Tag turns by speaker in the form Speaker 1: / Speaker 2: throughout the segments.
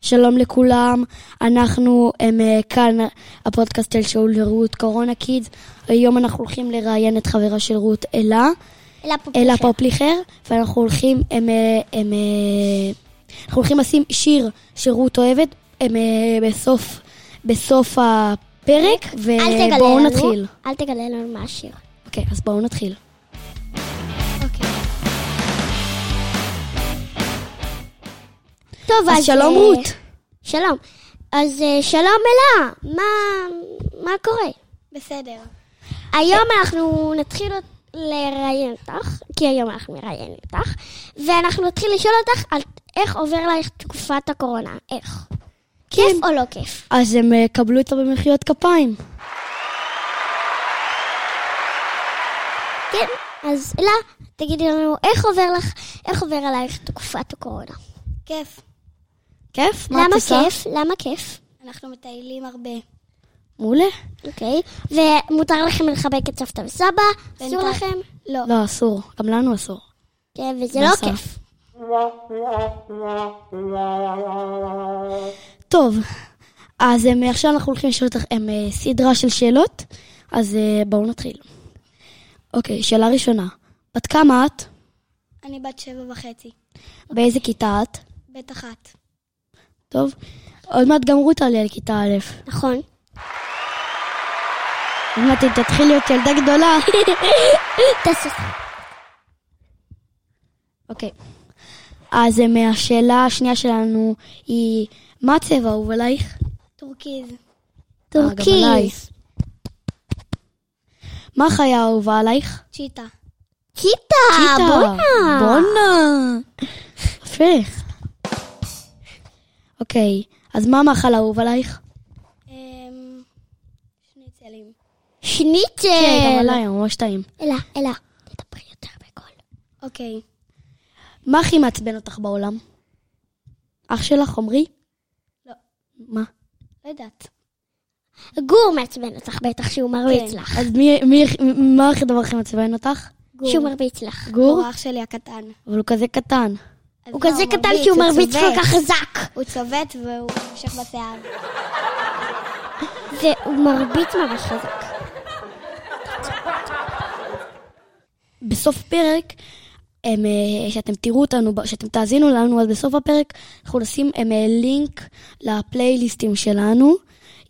Speaker 1: שלום לכולם, אנחנו הם, אה, כאן הפודקאסט של שאול ורות קורונה קידס. היום אנחנו הולכים לראיין את חברה של רות אלה,
Speaker 2: אלה פופ.
Speaker 1: אלה פופליכר, ואנחנו הולכים, הם, אה, הם, אה, אנחנו הולכים לשים שיר שרות אוהבת הם, אה, בסוף, בסוף הפרק,
Speaker 2: אל תגלה
Speaker 1: ובואו
Speaker 2: לנו.
Speaker 1: אה, נתחיל.
Speaker 2: אל תגלה לנו מה השיר.
Speaker 1: אוקיי, אז בואו נתחיל. אוקיי.
Speaker 2: טוב,
Speaker 1: אז שלום
Speaker 2: אה,
Speaker 1: רות.
Speaker 2: שלום. אז אה, שלום אלה, מה, מה קורה?
Speaker 3: בסדר.
Speaker 2: היום אנחנו נתחיל לראיין אותך, כי היום אנחנו מראיינים אותך, ואנחנו נתחיל לשאול אותך על איך עובר לך תקופת הקורונה, איך.
Speaker 1: כן.
Speaker 2: כיף או לא כיף?
Speaker 1: אז הם אה, קבלו אותה במחיאות כפיים.
Speaker 2: כן. אז אלה, תגידי לנו איך עובר לך, איך עובר עלייך תקופת הקורונה.
Speaker 3: כיף.
Speaker 1: כיף? מה את
Speaker 2: למה
Speaker 1: עושה?
Speaker 2: כיף? למה כיף?
Speaker 3: אנחנו מטיילים הרבה.
Speaker 1: מעולה.
Speaker 2: אוקיי. ומותר לכם לחבק את סבתא וסבא? אסור
Speaker 3: בינתיים.
Speaker 2: לכם? לא.
Speaker 1: לא, אסור. גם לנו אסור.
Speaker 2: כן, וזה לא
Speaker 1: בסוף.
Speaker 2: כיף.
Speaker 1: טוב, אז הם, עכשיו אנחנו הולכים לשאול אותך הם, אה, סדרה של שאלות, אז אה, בואו נתחיל. אוקיי, שאלה ראשונה. בת כמה את?
Speaker 3: אני בת שבע וחצי.
Speaker 1: באיזה כיתה את?
Speaker 3: בית אחת.
Speaker 1: טוב. עוד מעט גם רות תעלה על כיתה א'.
Speaker 2: נכון.
Speaker 1: עוד מעט היא תתחיל להיות ילדה גדולה.
Speaker 2: תעשו.
Speaker 1: אוקיי. אז הם, אה, השאלה השנייה שלנו היא, מה הצבע האהוב עלייך?
Speaker 3: טורקיז.
Speaker 1: אה, גם עליי.
Speaker 2: טורקיז.
Speaker 1: מה החיה האהובה עלייך?
Speaker 3: צ'יטה.
Speaker 2: כיתה,
Speaker 1: פיתה.
Speaker 2: בואנה.
Speaker 1: בואנה. יפה. אוקיי, אז מה המאכל האהוב עלייך?
Speaker 3: אמ, שניצלים.
Speaker 1: כן, גם
Speaker 2: שניצל.
Speaker 1: עליי, ממש טעים.
Speaker 2: אלה, אלה, תדברי יותר בקול.
Speaker 3: אוקיי.
Speaker 1: מה הכי מעצבן אותך בעולם? אח שלך, עמרי?
Speaker 3: לא.
Speaker 1: מה?
Speaker 3: לא יודעת.
Speaker 2: גור מעצבן אותך בטח שהוא מרביץ
Speaker 3: כן.
Speaker 2: לך.
Speaker 1: אז מי, מי, מה הדבר הכי מעצבן אותך?
Speaker 2: שהוא מרביץ לך.
Speaker 1: גור?
Speaker 3: הוא אח שלי הקטן.
Speaker 1: אבל הוא כזה קטן.
Speaker 3: אז
Speaker 2: הוא
Speaker 3: לא,
Speaker 2: כזה קטן
Speaker 3: מרביץ,
Speaker 2: שהוא
Speaker 3: הוא
Speaker 2: מרביץ
Speaker 3: צובט.
Speaker 2: כל כך חזק.
Speaker 3: הוא צובט והוא נמשך בשיער.
Speaker 2: והוא מרביץ ממש חזק.
Speaker 1: בסוף הפרק, הם, אה, שאתם תראו אותנו, ב- שאתם תאזינו לנו, אז בסוף הפרק אנחנו נשים הם, אה, לינק לפלייליסטים שלנו.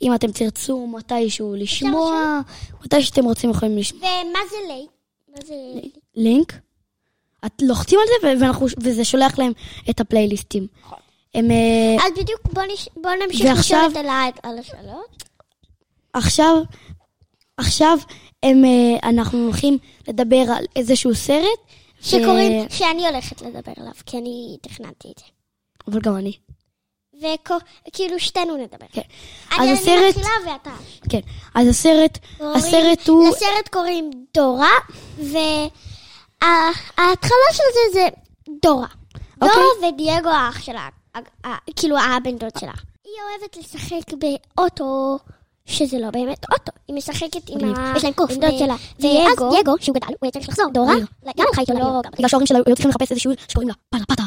Speaker 1: אם אתם תרצו מתישהו לשמוע, מתי שאתם רוצים יכולים לשמוע.
Speaker 2: ומה זה לי? מה זה לי?
Speaker 1: לינק, את לוחצים על זה ו- ואנחנו, וזה שולח להם את הפלייליסטים.
Speaker 2: נכון.
Speaker 1: הם, אה,
Speaker 2: אז בדיוק בוא נש- בוא נמשיך לשאול
Speaker 1: ועכשיו-
Speaker 2: את אלה את- על השאלות.
Speaker 1: עכשיו, עכשיו הם, אה, אנחנו הולכים לדבר על איזשהו סרט. ו-
Speaker 2: שקוראים, שאני הולכת לדבר עליו, כי אני תכננתי את זה.
Speaker 1: אבל גם אני.
Speaker 2: וכאילו שתינו נדבר.
Speaker 1: כן.
Speaker 2: אני
Speaker 1: אז
Speaker 2: אני
Speaker 1: הסרט-
Speaker 2: מתחילה ואתה.
Speaker 1: כן. אז הסרט,
Speaker 2: קוראים-
Speaker 1: הסרט הוא...
Speaker 2: לסרט קוראים דורה, וההתחלה של זה זה דורה. דורה ודייגו האח שלה, ה- ה- כאילו הבן דוד שלה. היא אוהבת לשחק באוטו. שזה לא באמת אוטו, היא משחקת עם
Speaker 1: מגניב.
Speaker 2: ה...
Speaker 3: יש להם קוף,
Speaker 2: עם דוד
Speaker 3: ו-
Speaker 2: שלה. ואז
Speaker 3: דייגו-
Speaker 2: דייגו, שהוא גדל, הוא היה צריך לחזור. דורה,
Speaker 1: דייגו.
Speaker 2: גם הלכה איתו
Speaker 3: לא-
Speaker 2: לדייגו.
Speaker 1: בגלל שההורים שלה היו צריכים לחפש איזשהו שקוראים לה פאטה פאטה.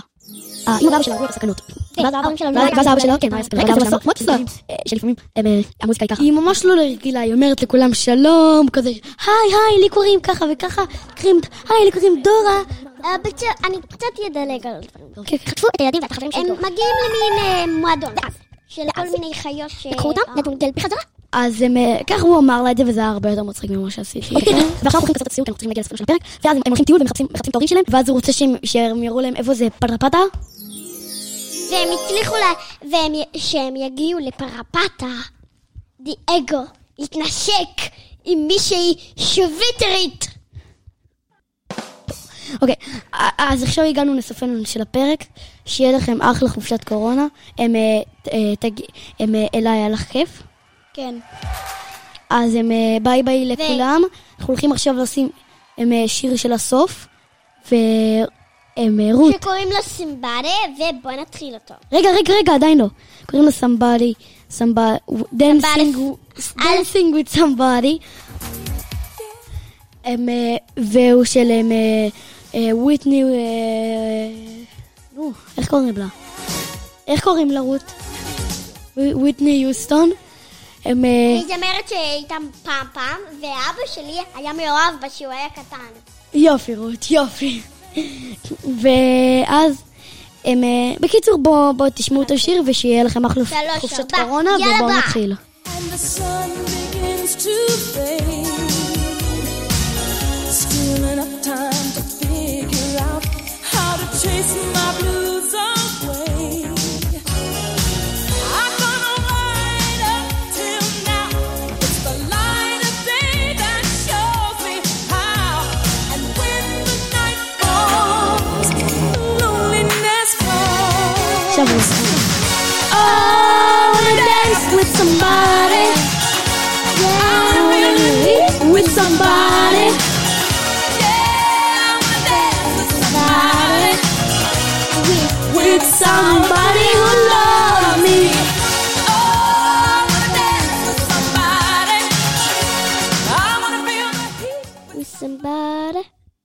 Speaker 1: האמא ואבא שלה היו בסכנות. כן, ואז האבא-
Speaker 2: ההורים שלה לא
Speaker 1: ואז-
Speaker 2: היו
Speaker 1: ואז האבא שלה,
Speaker 2: בסכנות.
Speaker 1: כן, מה היה בסכנות?
Speaker 2: רגע,
Speaker 1: ואז
Speaker 2: זה
Speaker 1: האבא שלה,
Speaker 2: מסוק?
Speaker 1: "What's that?" אה, שלפעמים הם, אה, המוזיקה היא ככה. היא ממש לא רגילה, היא אומרת לכולם שלום, כזה, היי, היי, לי קוראים ככה וככה, קוראים, היי, לי קוראים דורה.
Speaker 2: אה, בצ- אני קצת אדלג על הדברים.
Speaker 1: כן, כן.
Speaker 2: אוקיי, חטפו את הילדים ואת החברים
Speaker 3: הם
Speaker 2: הם מגיעים למין אה, מועדון של כל מיני חיות ש...
Speaker 3: לקחו אותם,
Speaker 2: נתנו את בחזרה.
Speaker 1: אז הם, אה, ככה הוא אמר לה את זה, וזה היה הרבה יותר מצחיק ממה שעשיתי. אוקיי, כן. ועכשיו אנחנו הולכים לעשות את הסיום, כי אנחנו צריכים להגיע לסוף של הפרק, ואז הם הם הולכים טיול ומחפשים מחפשים את ההורים שלהם, ואז הוא רוצה שהם- שהם יראו להם איפה זה פאטה פאטה.
Speaker 2: והם הצליחו לה... והם... י- שהם יגיעו לפרפטה, דייגו
Speaker 3: אה,
Speaker 2: התנשק עם מישהי שוויטרית.
Speaker 1: אוקיי, א- אז עכשיו הגענו לסופנו של הפרק, שיהיה לכם אחלה חופשת קורונה. הם, אה, ת- אה, תג- הם, אה, אלה, היה לך כיף?
Speaker 3: כן.
Speaker 1: אז הם, אה, ביי ביי לכולם. אנחנו הולכים עכשיו לשים הם, אה, שיר של הסוף, והם, אה, רות.
Speaker 2: שקוראים לו סימבאדה, ובואו נתחיל אותו.
Speaker 1: רגע, רגע, רגע, עדיין לא. קוראים לו somebody, somebody, dancing,
Speaker 2: Somebody.
Speaker 1: dancing with somebody. הם, אה, והוא של הם, אה, אה, וויטני, אה, נו, איך קוראים לה? איך קוראים לה רות? וויטני יוסטון. הם... אה,
Speaker 2: היא זמרת שאיתם פעם פעם, ואבא שלי היה מאוהב בה כשהוא היה קטן.
Speaker 1: יופי, רות, יופי. ואז, הם, אה, בקיצור, בואו בוא, תשמעו את השיר ושיהיה לכם אחלה
Speaker 2: שלוש,
Speaker 1: חופשת
Speaker 2: ארבע,
Speaker 1: קורונה,
Speaker 2: יאללה,
Speaker 1: ובואו
Speaker 2: ביי.
Speaker 1: נתחיל.
Speaker 4: and the sun begins to fade. Still enough time to figure out how to chase my blues away. I'm gonna light up till now. It's the light of day that shows me how. And when the night falls, loneliness falls.
Speaker 1: עכשיו רות.
Speaker 4: I wanna dance with somebody. I wanna leave with somebody. Yeah, I wanna dance with somebody. With somebody who loves me. Oh, I wanna dance with somebody. I wanna feel the heat.
Speaker 2: With somebody.